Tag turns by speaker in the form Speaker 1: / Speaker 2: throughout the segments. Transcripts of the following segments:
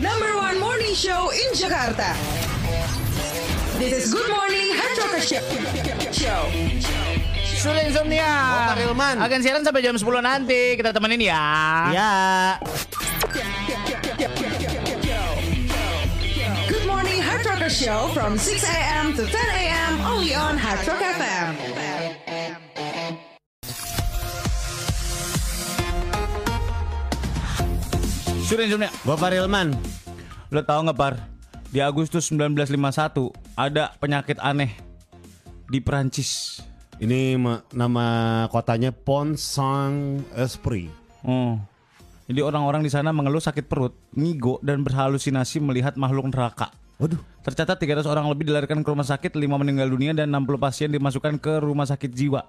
Speaker 1: Number one morning show in Jakarta. This is Good Morning Hard Rocker Show. Show.
Speaker 2: Sulit Insomnia.
Speaker 3: Otak Hilman.
Speaker 2: Akan siaran sampai jam 10 nanti. Kita temenin ya.
Speaker 3: Ya.
Speaker 1: Good Morning Hard Rocker Show from 6 a.m. to 10 a.m. only on Hard Rock FM.
Speaker 2: Sulit Insomnia.
Speaker 3: Bapak Rilman.
Speaker 4: Lo tau nggak Par? Di Agustus 1951 ada penyakit aneh di Perancis.
Speaker 3: Ini ma- nama kotanya Pont Saint Esprit.
Speaker 4: Oh. Jadi orang-orang di sana mengeluh sakit perut, ngigo dan berhalusinasi melihat makhluk neraka.
Speaker 3: Waduh.
Speaker 4: Tercatat 300 orang lebih dilarikan ke rumah sakit, 5 meninggal dunia dan 60 pasien dimasukkan ke rumah sakit jiwa.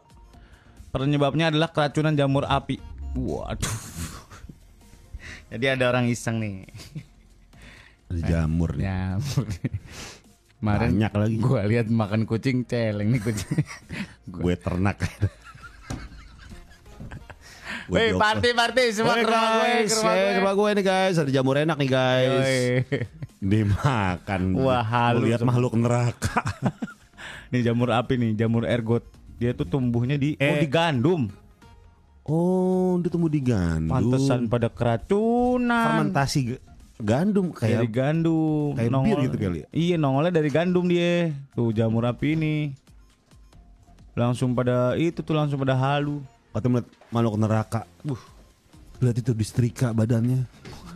Speaker 4: Penyebabnya adalah keracunan jamur api. Waduh. Jadi ada orang iseng nih.
Speaker 3: Ada jamur nih.
Speaker 2: Ya. Kemarin
Speaker 3: Banyak lagi.
Speaker 2: Gua lihat makan kucing celeng nih kucing.
Speaker 3: Gue ternak. Gue jokes.
Speaker 2: Woi, party party semua
Speaker 3: Oke,
Speaker 2: ke rumah gue,
Speaker 3: guys,
Speaker 2: ke rumah
Speaker 3: eh,
Speaker 2: gue.
Speaker 3: ke rumah gue nih guys, ada jamur enak nih guys.
Speaker 2: Yoi.
Speaker 3: Dimakan.
Speaker 4: Wah, halus.
Speaker 3: Lihat makhluk neraka.
Speaker 4: Ini jamur api nih, jamur ergot. Dia tuh tumbuhnya di oh di gandum.
Speaker 3: oh, dia tumbuh di gandum.
Speaker 4: Pantesan pada keracunan.
Speaker 3: fermentasi ge- gandum
Speaker 4: Dari
Speaker 3: kayak
Speaker 4: gandum.
Speaker 3: kayak bir gitu kali ya?
Speaker 4: Iya, nongolnya dari gandum dia. Tuh jamur api ini. Langsung pada itu tuh langsung pada halu.
Speaker 3: atau melihat makhluk neraka. Uh. Lihat itu distrika badannya.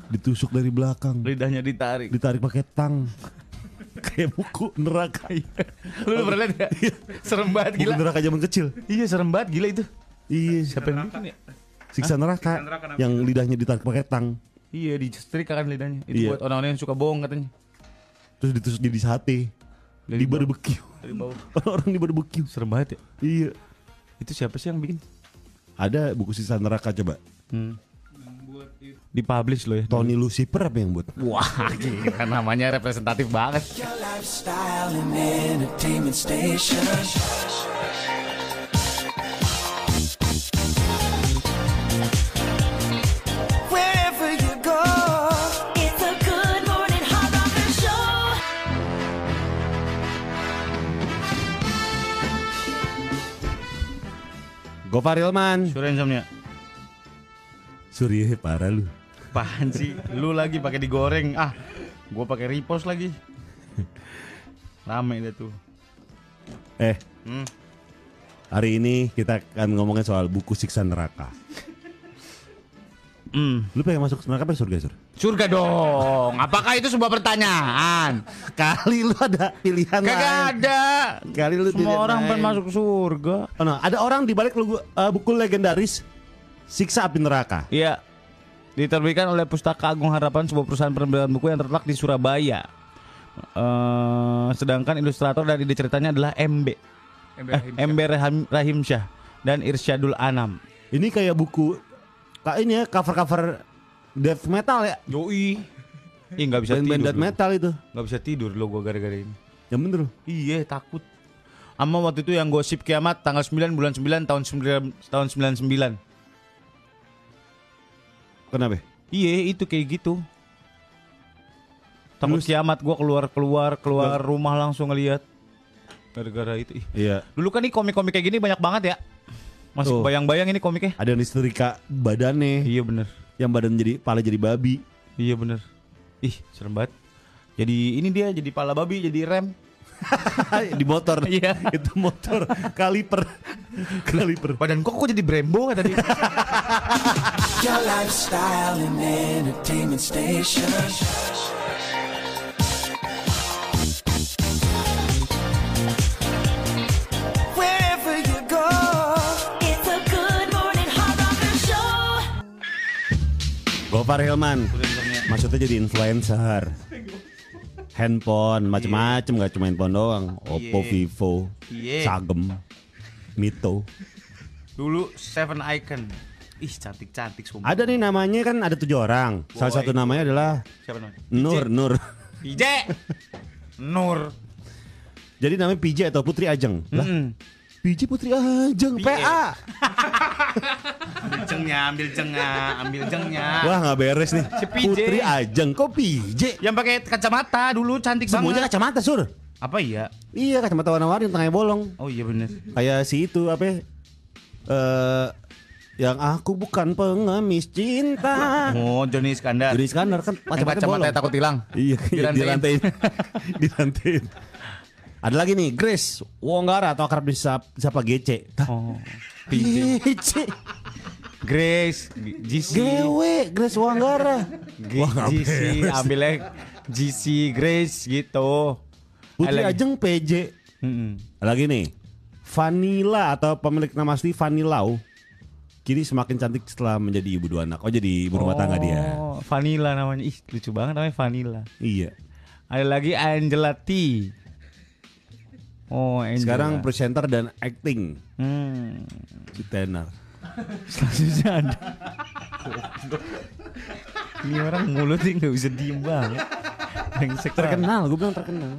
Speaker 3: Ditusuk dari belakang.
Speaker 4: Lidahnya ditarik.
Speaker 3: ditarik pakai tang kayak buku neraka Oh,
Speaker 2: Lu udah pernah lihat nggak?
Speaker 3: iya.
Speaker 2: Serem banget
Speaker 3: buku
Speaker 2: gila.
Speaker 3: neraka zaman kecil
Speaker 4: Iya, serem banget gila itu.
Speaker 3: iya siapa yang
Speaker 4: Bikin ya?
Speaker 3: siksa neraka, yang lidahnya ditarik pakai tang
Speaker 4: Iya, disetrika kan lidahnya. Itu
Speaker 3: Iya.
Speaker 4: buat orang-orang yang suka bohong katanya.
Speaker 3: terus ditusuk jadi sate
Speaker 4: Dari
Speaker 3: di
Speaker 4: bawah.
Speaker 3: barbecue
Speaker 4: Dari bawah.
Speaker 3: orang di barbecue
Speaker 4: Serem banget ya.
Speaker 3: iya
Speaker 4: Itu siapa sih yang bikin?
Speaker 3: ada buku siksa neraka coba
Speaker 4: Dipublish loh ya.
Speaker 3: Tony Lucifer apa yang buat
Speaker 2: Wah, gila namanya representatif banget.
Speaker 5: lifestyle and entertainment station. Wherever you go.
Speaker 6: It's a good morning hard rocker show.
Speaker 3: Gofar Hilman
Speaker 4: Suruh insomnia.
Speaker 3: Surya parah lu
Speaker 4: Apaan sih? Lu lagi pakai digoreng. Ah, gua pakai repost lagi. Rame deh tuh.
Speaker 3: eh hari ini kita akan ngomongin soal buku siksa neraka lu pengen masuk neraka apa surga sur
Speaker 2: Surga dong. Apakah itu sebuah pertanyaan?
Speaker 3: kali lu ada pilihan
Speaker 2: Kagak
Speaker 3: lain.
Speaker 2: ada.
Speaker 3: Kali lu
Speaker 4: Semua
Speaker 3: tidak
Speaker 4: orang
Speaker 3: main.
Speaker 4: pengen masuk surga.
Speaker 3: Oh, no. Ada orang di balik lu- uh, buku legendaris Siksa Api Neraka.
Speaker 4: Iya. Diterbitkan oleh Pustaka Agung Harapan sebuah perusahaan penerbitan buku yang terletak di Surabaya. Eh, sedangkan ilustrator dari ide ceritanya adalah MB. Eh, MB Rahim, Rahimsyah dan Irsyadul Anam.
Speaker 3: Ini kayak buku kak ini ya cover-cover death metal ya.
Speaker 4: Yoi. Ih, nggak bisa
Speaker 3: Band-band
Speaker 4: tidur.
Speaker 3: death
Speaker 4: lu.
Speaker 3: metal itu.
Speaker 4: Nggak bisa tidur lo gua gara-gara ini.
Speaker 3: Yang bener loh.
Speaker 4: Iya, takut. Ama waktu itu yang gosip kiamat tanggal 9 bulan 9 tahun 9 tahun 99.
Speaker 3: Kenapa?
Speaker 4: Iya, itu kayak gitu. Takut kiamat gua keluar-keluar keluar rumah langsung ngeliat gara-gara itu. Ih,
Speaker 3: Iya.
Speaker 4: Dulu kan nih komik-komik kayak gini banyak banget ya. Masih
Speaker 3: Tuh.
Speaker 4: bayang-bayang ini komiknya.
Speaker 3: Ada yang disetrika badannya
Speaker 4: Iya bener
Speaker 3: yang badan jadi pala jadi babi.
Speaker 4: Iya bener Ih, serem banget. Jadi ini dia jadi pala babi, jadi rem.
Speaker 3: di motor.
Speaker 4: Iya.
Speaker 3: itu motor kaliper. kaliper.
Speaker 4: Badan kok kok jadi Brembo tadi?
Speaker 5: Your lifestyle and entertainment station. Wherever you go.
Speaker 6: It's a good morning hard rocker show.
Speaker 3: Gofar Hilman. Maksudnya jadi influencer. Handphone macem-macem nggak cuma handphone doang. Oppo, Vivo,
Speaker 4: Iya.
Speaker 3: Sagem, Mito.
Speaker 4: Dulu Seven Icon. Ih, cantik-cantik sumpah.
Speaker 3: Ada nih namanya kan ada tujuh orang. Salah satu namanya adalah
Speaker 4: Siapa namanya?
Speaker 3: Nur Nur.
Speaker 4: PJ. Nur.
Speaker 3: Jadi namanya PJ atau Putri Ajeng. Lah, PJ Putri Ajeng, PA.
Speaker 2: jengnya, ambil jengnya, ambil jengnya.
Speaker 3: Wah nggak beres nih.
Speaker 4: Si PJ.
Speaker 3: Putri Ajeng kok PJ?
Speaker 2: Yang pakai kacamata dulu cantik
Speaker 3: Semuanya
Speaker 2: banget.
Speaker 3: kacamata sur.
Speaker 2: Apa iya?
Speaker 3: Iya kacamata warna-warni yang tengahnya bolong.
Speaker 2: Oh iya bener.
Speaker 3: Kayak si itu apa? ya? Eh yang aku bukan pengemis cinta.
Speaker 2: Oh Johnny Iskandar.
Speaker 3: Jadi Iskandar kan
Speaker 2: Yang
Speaker 3: kacamata
Speaker 2: kacamata
Speaker 3: bolong.
Speaker 2: takut hilang.
Speaker 3: Iya, iya,
Speaker 2: Dirantain.
Speaker 3: dirantain. dirantain. Ada lagi nih, Grace Wonggara atau akrab disap, siapa GC.
Speaker 4: Oh.
Speaker 3: GC.
Speaker 4: Grace, GC,
Speaker 3: GW, Grace Wonggara. Wah, nggak
Speaker 4: GC,
Speaker 3: beres.
Speaker 4: ambilnya GC, Grace gitu.
Speaker 3: Putri
Speaker 4: Ada lagi.
Speaker 3: Ajeng PJ.
Speaker 4: Mm-mm.
Speaker 3: Ada Lagi nih. Vanilla atau pemilik nama asli Vanilau. Kini semakin cantik setelah menjadi ibu dua anak. Oh, jadi ibu rumah tangga dia.
Speaker 4: Oh, Vanilla namanya. Ih, lucu banget namanya Vanilla.
Speaker 3: Iya.
Speaker 4: Ada lagi Angela T. Oh, Angela.
Speaker 3: Sekarang presenter dan acting
Speaker 4: hmm.
Speaker 3: di tenar.
Speaker 4: selanjutnya ada. Ini orang mulutnya nggak bisa diem banget. Brengsek banget.
Speaker 3: Terkenal, gue bilang terkenal.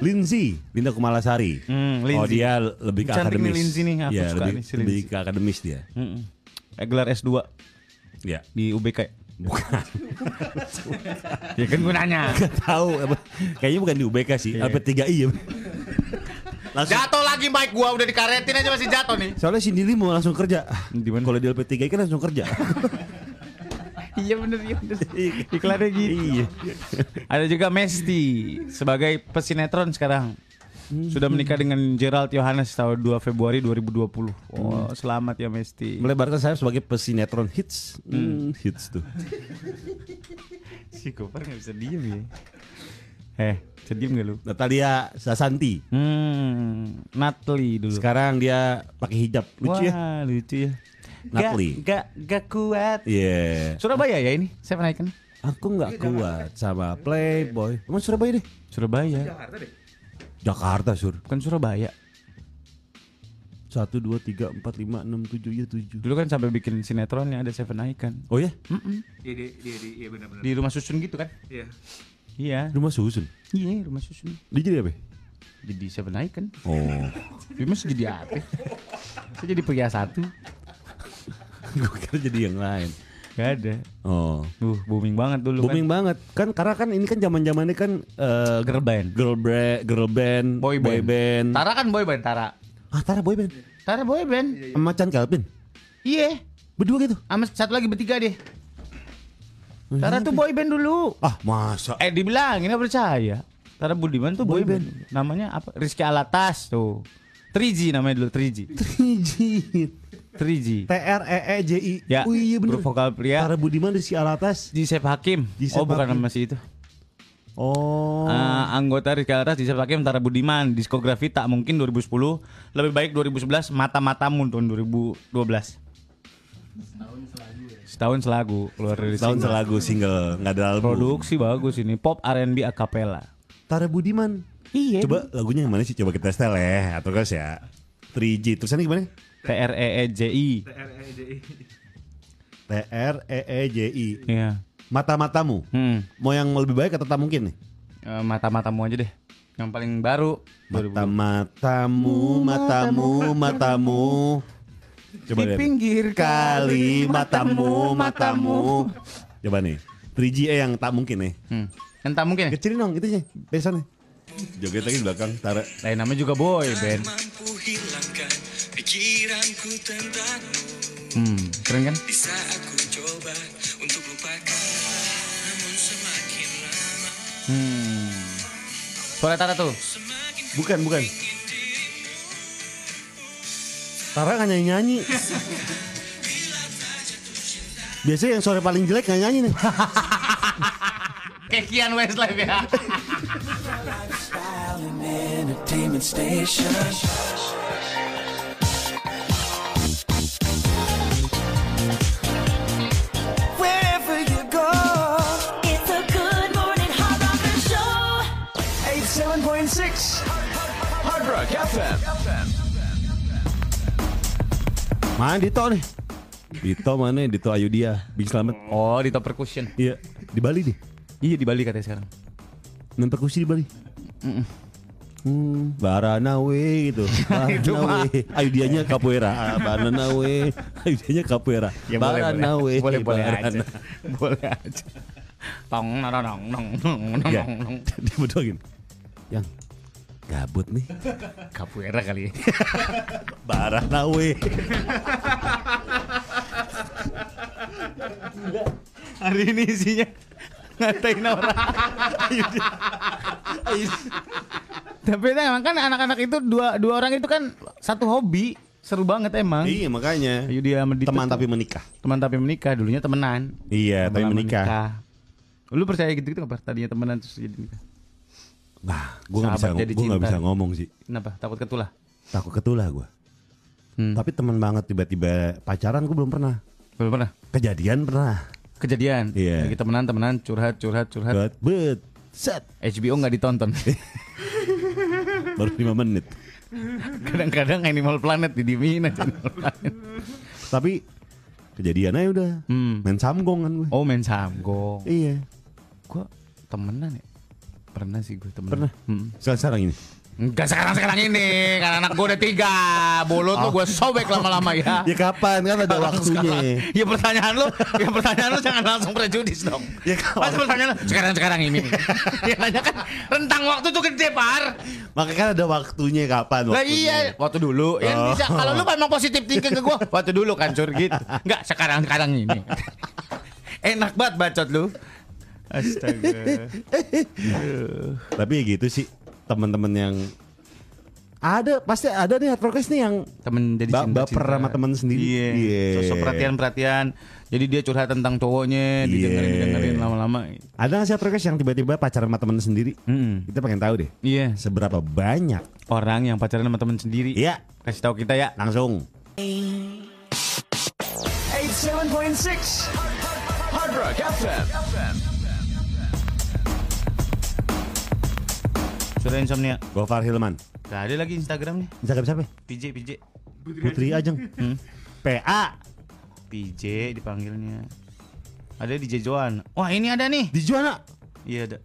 Speaker 3: Lindsay, Linda Kumalasari.
Speaker 4: Hmm,
Speaker 3: oh
Speaker 4: Lindsay.
Speaker 3: dia lebih ke
Speaker 4: Cantik nih
Speaker 3: akademis.
Speaker 4: Lindsay nih, aku
Speaker 3: Iya,
Speaker 4: suka
Speaker 3: lebih,
Speaker 4: nih si
Speaker 3: lebih
Speaker 4: Lindsay.
Speaker 3: ke akademis dia.
Speaker 4: Mm-mm. Eh, Gelar S2
Speaker 3: Ya,
Speaker 4: di UBK.
Speaker 3: bukan.
Speaker 4: Ya kan gue nanya.
Speaker 3: Gak tahu. apa- Kayaknya bukan di UBK sih.
Speaker 4: Iya.
Speaker 3: LP3I ya. langsung,
Speaker 2: Jatuh lagi mic gua udah dikaretin aja masih jatuh nih.
Speaker 3: soalnya sendiri mau langsung kerja.
Speaker 4: Di mana?
Speaker 3: Kalau di LP3I kan langsung kerja.
Speaker 4: Iya bener, iya bener. Iklannya gitu.
Speaker 3: Iya.
Speaker 4: Ada juga Mesti sebagai pesinetron sekarang. Sudah menikah dengan Gerald Yohanes tahun 2 Februari 2020. Oh, selamat ya Mesti.
Speaker 3: Melebarkan saya sebagai pesinetron hits. Hmm, hits tuh.
Speaker 4: Si Gopar gak bisa diem ya Eh, bisa diem gak lu?
Speaker 3: Natalia Sasanti.
Speaker 4: Hmm, Natli dulu
Speaker 3: Sekarang dia pakai hijab. Lucu ya.
Speaker 4: Wah, lucu ya Gak,
Speaker 3: Natli.
Speaker 4: gak, gak kuat
Speaker 3: Iya.
Speaker 4: Surabaya ya ini? Saya pernah ikan
Speaker 3: Aku
Speaker 4: Iya,
Speaker 3: nggak kuat sama Playboy. Emang Surabaya deh.
Speaker 4: Surabaya
Speaker 3: Jakarta sur.
Speaker 4: Bukan Surabaya
Speaker 3: Satu dua tiga empat lima enam tujuh ya tujuh.
Speaker 4: Dulu kan sampai bikin sinetronnya ada Seven Icon
Speaker 3: Oh ya,
Speaker 7: Iya, dia, dia, dia, iya benar-benar.
Speaker 4: Di rumah susun gitu kan?
Speaker 7: Iya.
Speaker 4: Iya
Speaker 3: rumah susun.
Speaker 4: Iya, rumah susun
Speaker 3: Dia jadi apa?
Speaker 4: Jadi Seven Icon
Speaker 3: Oh,
Speaker 4: Bimas jadi apa? Saya jadi pria satu
Speaker 3: gue kira jadi yang lain.
Speaker 4: Gak ada
Speaker 3: Oh,
Speaker 4: Uh, booming banget dulu
Speaker 3: booming
Speaker 4: kan
Speaker 3: banget kan karena kan ini kan zaman zamannya kan eh,
Speaker 4: Girl band
Speaker 3: girl band, girl band,
Speaker 4: Boy band. Tara kan boy band, Tara
Speaker 3: Ah, Tara boy band.
Speaker 4: Tara boy band
Speaker 3: Sama Chan Calvin.
Speaker 4: Iya,
Speaker 3: Berdua gitu.
Speaker 4: sama satu lagi bertiga deh. Tara tuh boyband dulu.
Speaker 3: Ah, masa?
Speaker 4: Eh dibilangin gak percaya. Tara Budiman tuh boyband. Namanya apa? Rizky Alatas tuh. 3G namanya dulu 3G.
Speaker 3: Trijit.
Speaker 4: 3G.
Speaker 3: T R E E J I.
Speaker 4: Ya,
Speaker 3: Oh iya bener.
Speaker 4: bervokal pria.
Speaker 3: Tara Budiman dari si Alatas.
Speaker 4: Jisep Hakim.
Speaker 3: Jisep
Speaker 4: oh bukan
Speaker 3: Hakim.
Speaker 4: nama si itu.
Speaker 3: Oh.
Speaker 4: Ah, anggota Rizky Alatas, Jisep Hakim, Tara Budiman. Diskografi tak mungkin 2010. Lebih baik 2011. Mata-matamu tahun 2012. ya. Setahun selagu keluar dari
Speaker 3: Tahun
Speaker 4: single.
Speaker 3: selagu single nggak ada album.
Speaker 4: Produksi bagus ini. Pop R&B a cappella.
Speaker 3: Tara Budiman.
Speaker 4: Iya.
Speaker 3: Coba lagunya yang mana sih? Coba kita setel ya, atau guys ya. 3G tulisannya gimana?
Speaker 4: T R E E J I.
Speaker 3: T R E E J I.
Speaker 4: Iya.
Speaker 3: Mata matamu.
Speaker 4: Hmm.
Speaker 3: Mau yang lebih baik atau tak mungkin nih?
Speaker 4: Eh, mata-matamu aja deh. Yang paling baru.
Speaker 3: Mata matamu, matamu, matamu. Coba
Speaker 4: Di
Speaker 3: deh.
Speaker 4: pinggir
Speaker 3: kali
Speaker 4: kali,
Speaker 3: matamu,
Speaker 4: matamu,
Speaker 3: matamu. Coba nih. 3G eh yang tak mungkin nih.
Speaker 4: Hmm. Yang tak mungkin. ya?
Speaker 3: Kecilin dong gitu itunya, pesannya. Joget lagi di belakang, Tara.
Speaker 4: Lain namanya juga boy Ben.
Speaker 8: mampu hilangkan pikiranku tentangmu
Speaker 4: Hmm. Keren kan?
Speaker 8: Bisa aku coba untuk lupakan Namun semakin lama
Speaker 4: Hmm. Suara Tara tuh.
Speaker 3: Bukan, bukan. Tara nggak nyanyi-nyanyi. Biasanya yang sore paling jelek nggak nyanyi nih.
Speaker 2: Kekian Westlife ya.
Speaker 5: Style and entertainment station. Wherever you go.
Speaker 6: It's a good morning hard rocker show.
Speaker 5: 87.6 Hard Rock FM.
Speaker 3: Mana Dito nih? Dito mana? Dito Ayudia, Bing Slamet.
Speaker 4: Oh, di top percussion.
Speaker 3: Iya, di Bali nih.
Speaker 4: Iya di Bali katanya sekarang.
Speaker 3: Main perkusi di Bali. Hmm, Baranawe gitu. Baranawe. Ayudianya capoeira. Ah, Baranawe. Ayudianya capoeira.
Speaker 2: Ya, boleh,
Speaker 3: Baranawe.
Speaker 2: boleh, boleh aja.
Speaker 3: Barana-
Speaker 2: Boleh aja. Tong nong nong nong nong
Speaker 3: Iya.
Speaker 2: nong nong.
Speaker 3: Dia berdua gini. Yang gabut nih.
Speaker 2: Capoeira kali.
Speaker 3: Baranawe.
Speaker 4: Hari ini isinya ngatain orang. Tapi emang kan anak-anak itu dua dua orang itu kan satu hobi seru banget emang.
Speaker 3: Iya makanya.
Speaker 4: Ayo dia sama Dito
Speaker 3: Teman
Speaker 4: tuh.
Speaker 3: tapi menikah.
Speaker 4: teman tapi menikah dulunya temenan.
Speaker 3: Iya, tapi
Speaker 4: Lama-lama
Speaker 3: menikah.
Speaker 4: Lu percaya gitu-gitu nggak, Pak? Tadinya temenan terus jadi nikah.
Speaker 3: Nah, gue nggak bisa,
Speaker 4: Sahabat jadi
Speaker 3: gua nggak
Speaker 4: cinta.
Speaker 3: bisa ngomong sih.
Speaker 4: Kenapa? Takut ketulah.
Speaker 3: Takut ketulah gue.
Speaker 4: Hmm.
Speaker 3: Tapi teman banget tiba-tiba pacaran gue belum pernah.
Speaker 4: Belum pernah
Speaker 3: Kejadian pernah.
Speaker 4: kejadian.
Speaker 3: Iya.
Speaker 4: Lagi temenan temenan curhat curhat curhat.
Speaker 3: Bet, bet, set.
Speaker 4: HBO nggak ditonton.
Speaker 3: Baru 5 menit.
Speaker 4: Kadang-kadang Animal Planet didiemin aja. Animal Planet.
Speaker 3: Tapi kejadian aja udah.
Speaker 4: Hmm.
Speaker 3: Main samgong kan gue.
Speaker 4: Oh main samgong.
Speaker 3: Iya,
Speaker 4: Gue temenan ya. Pernah sih gue temenan.
Speaker 3: pernah.
Speaker 4: Hmm.
Speaker 3: Sekarang, sekarang ini.
Speaker 2: Enggak sekarang sekarang ini karena anak gue udah tiga Bolot lu
Speaker 3: Oh.
Speaker 2: gue sobek lama-lama ya
Speaker 3: Ya kapan kan ada waktunya.
Speaker 2: Ya pertanyaan lu Ya pertanyaan lu jangan langsung prejudis dong
Speaker 3: Ya, kawan.
Speaker 2: Pas pertanyaan lu Sekarang-sekarang ini Ya nanya kan Rentang waktu tuh gede par
Speaker 3: Makanya kan ada waktunya kapan
Speaker 2: Lah
Speaker 3: waktunya.
Speaker 2: iya Waktu dulu ya,
Speaker 3: Oh.
Speaker 2: bisa. Kalau lu memang positif thinking ke gue Waktu dulu kan sur gitu Enggak sekarang-sekarang ini Enak banget bacot lu
Speaker 4: Astaga.
Speaker 3: Tapi ya gitu sih teman-teman yang ada pasti ada nih hardrockers nih yang
Speaker 4: Temen jadi
Speaker 3: Ba-
Speaker 4: cinta
Speaker 3: baper sama temen sendiri.
Speaker 4: Iya.
Speaker 3: Iya.
Speaker 4: Sosok perhatian-perhatian. Jadi dia curhat tentang cowoknya,
Speaker 3: Iya.
Speaker 4: didengerin-dengerin lama-lama.
Speaker 3: ada nggak sih hardrockers yang tiba-tiba pacaran sama teman sendiri?
Speaker 4: Mm-mm.
Speaker 3: Kita pengen tahu deh.
Speaker 4: Hmm. Iya.
Speaker 3: Seberapa banyak?
Speaker 4: Orang yang pacaran sama temen sendiri.
Speaker 3: Iya,
Speaker 4: Kasih tahu kita ya.
Speaker 3: langsung.
Speaker 5: 87.6 Hard Rock FM.
Speaker 4: Sudah insomnia.
Speaker 3: Gofar Hilman.
Speaker 4: Gak ada lagi Instagramnya.
Speaker 3: Instagram siapa? ya?
Speaker 4: PJ PJ.
Speaker 3: Putri Ajeng.
Speaker 4: Hmm.
Speaker 3: PA
Speaker 4: PJ dipanggilnya. Ada DJ Joan. Wah, ini ada nih.
Speaker 3: di Juana.
Speaker 4: Iya ada.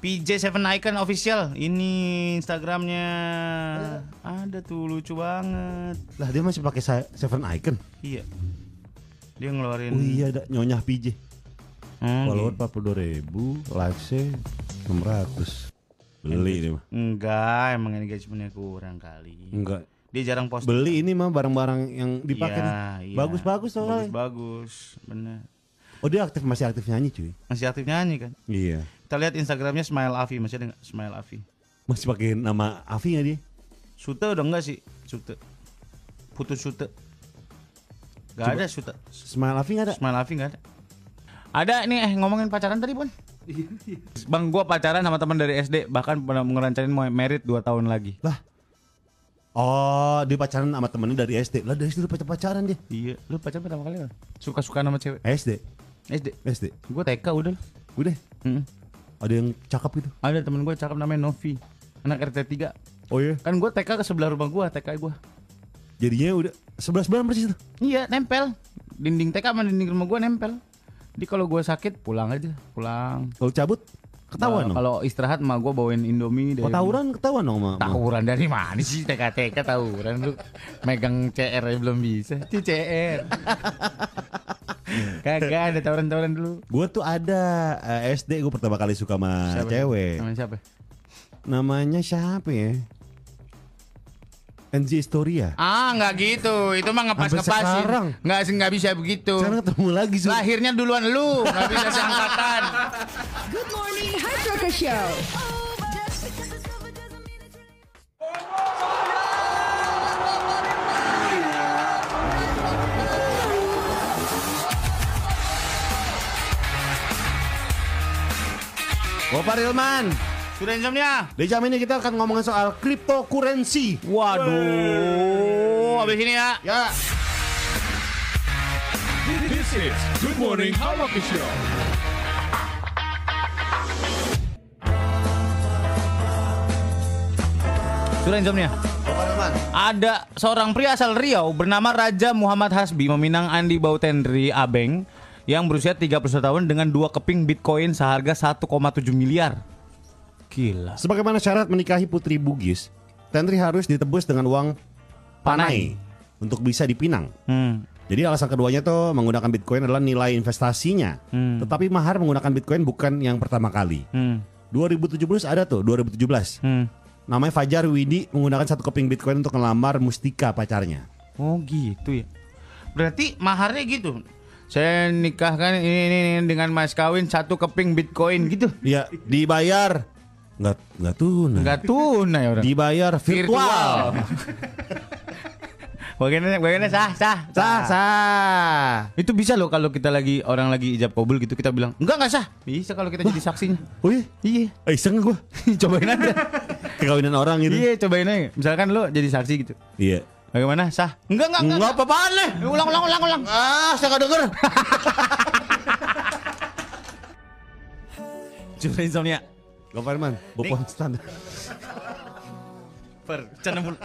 Speaker 4: PJ Seven Icon official. Ini Instagramnya. Ada tuh lucu banget.
Speaker 3: Lah dia masih pakai sa- Seven Icon.
Speaker 4: Iya. Dia ngeluarin.
Speaker 3: Oh iya ada Nyonya PJ.
Speaker 4: Hmm,
Speaker 3: Follower
Speaker 4: gitu.
Speaker 3: 42.000, likes-nya 600. Beli ini mah.
Speaker 4: Enggak, emang engagementnya kurang kali.
Speaker 3: Enggak.
Speaker 4: Dia jarang post.
Speaker 3: Beli ini mah barang-barang yang dipakai.
Speaker 4: Iya,
Speaker 3: nih.
Speaker 4: iya.
Speaker 3: Bagus-bagus soalnya.
Speaker 4: Bagus-bagus, bener.
Speaker 3: Oh dia aktif masih aktif nyanyi cuy.
Speaker 4: Masih aktif nyanyi kan?
Speaker 3: Iya.
Speaker 4: Kita lihat Instagramnya Smile Afi, masih ada nggak Smile Afi?
Speaker 3: Masih pakai nama Avi nggak dia?
Speaker 4: Sute udah enggak sih? Sute. Putus Sute. Gak ada Sute.
Speaker 3: Smile Avi nggak ada?
Speaker 4: Smile Afi gak ada. Ada nih eh ngomongin pacaran tadi pun. Bang gua pacaran sama teman dari SD bahkan pernah ngerancain mau merit 2 tahun lagi.
Speaker 3: Lah. Oh dia pacaran sama temennya dari SD. Lah dari SD udah pacar pacaran dia.
Speaker 4: Iya, lu pacaran pertama kali kan? Suka-sukaan sama cewek.
Speaker 3: SD.
Speaker 4: SD.
Speaker 3: SD.
Speaker 4: Gua TK udah. lah.
Speaker 3: Udah.
Speaker 4: Mm-mm.
Speaker 3: Ada yang cakep gitu.
Speaker 4: Ada temen gue cakep namanya Novi Anak RT3
Speaker 3: Oh iya.
Speaker 4: Kan gue TK ke sebelah rumah gue TK gue
Speaker 3: Jadinya udah 11 bulan persis tuh.
Speaker 4: Iya nempel Dinding TK sama dinding rumah gue nempel Jadi kalau gue sakit pulang aja Pulang
Speaker 3: Kalau cabut
Speaker 4: Nah,
Speaker 3: ketahuan dong.
Speaker 4: Kalau istirahat mah gue bawain indomie dari
Speaker 3: Kalau Oh, tawuran ketahuan dong sama- sama.
Speaker 4: Tawuran dari mana sih TK-TK tawuran lu Megang CR aja belum bisa Itu CR Kagak ada tawuran-tawuran dulu
Speaker 3: Gue tuh ada eh, SD gue pertama kali suka sama
Speaker 4: Siapa?
Speaker 3: cewek.
Speaker 4: Sama siapa? ya?
Speaker 3: Namanya siapa ya? NG Historia.
Speaker 2: Ah nggak gitu Itu mah
Speaker 3: Sampai
Speaker 2: ngepas-ngepasin
Speaker 3: sekarang.
Speaker 2: Nggak sih nggak bisa begitu
Speaker 3: Sekarang ketemu lagi Su.
Speaker 2: Lahirnya duluan lu Nggak bisa seangkatan
Speaker 1: Good morning, Hard Rocker Show.
Speaker 6: Just because it's over doesn't mean it's right.
Speaker 3: Gopar Ilman.
Speaker 4: Sudah insomnia?
Speaker 3: Di jam ini kita akan ngomongin soal cryptocurrency.
Speaker 4: Waduh Abis ini ya
Speaker 3: Ya,
Speaker 5: This is Good Morning Hard Rock Show.
Speaker 4: Sudah insomnia?
Speaker 3: Gopar Ilman.
Speaker 4: Ada seorang pria asal Riau bernama Raja Muhammad Hasbi meminang Andi Bautendri Abeng yang berusia 31 tahun dengan dua keping Bitcoin seharga 1,7 miliar. Gila.
Speaker 3: Sebagaimana syarat menikahi putri Bugis, Tentri harus ditebus dengan uang panai, untuk bisa dipinang.
Speaker 4: Hmm.
Speaker 3: Jadi alasan keduanya tuh menggunakan Bitcoin adalah nilai investasinya.
Speaker 4: Hmm.
Speaker 3: Tetapi mahar menggunakan Bitcoin bukan yang pertama kali.
Speaker 4: Hmm.
Speaker 3: 2017 ada tuh, 2017.
Speaker 4: Hmm.
Speaker 3: Namanya Fajar Widi menggunakan satu keping Bitcoin untuk ngelamar Mustika pacarnya.
Speaker 4: Oh gitu ya.
Speaker 2: Berarti maharnya gitu. Saya nikahkan ini, ini, ini dengan mas kawin satu keping bitcoin gitu.
Speaker 3: Iya, dibayar nggak nggak tunai.
Speaker 2: Enggak tunai orang.
Speaker 3: Dibayar virtual.
Speaker 2: bagiannya bagiannya sah sah
Speaker 3: Sah,
Speaker 2: sah. Itu bisa loh kalau kita lagi orang lagi ijab kabul gitu kita bilang enggak enggak sah. Bisa kalau kita jadi saksinya.
Speaker 3: Wih,
Speaker 2: Iya.
Speaker 3: eh, iseng gue
Speaker 2: cobain aja.
Speaker 3: kekawinan orang gitu.
Speaker 2: iya cobain aja. Misalkan lo jadi saksi gitu.
Speaker 3: Iya.
Speaker 2: Bagaimana sah? Enggak enggak
Speaker 3: Enggak
Speaker 2: apa-apaan lah. Ulang ulang ulang ulang. Ah, saya enggak denger.
Speaker 4: Jumlah insomnia.
Speaker 3: Bang Firman, Bopon standar.
Speaker 2: Per, cenembul.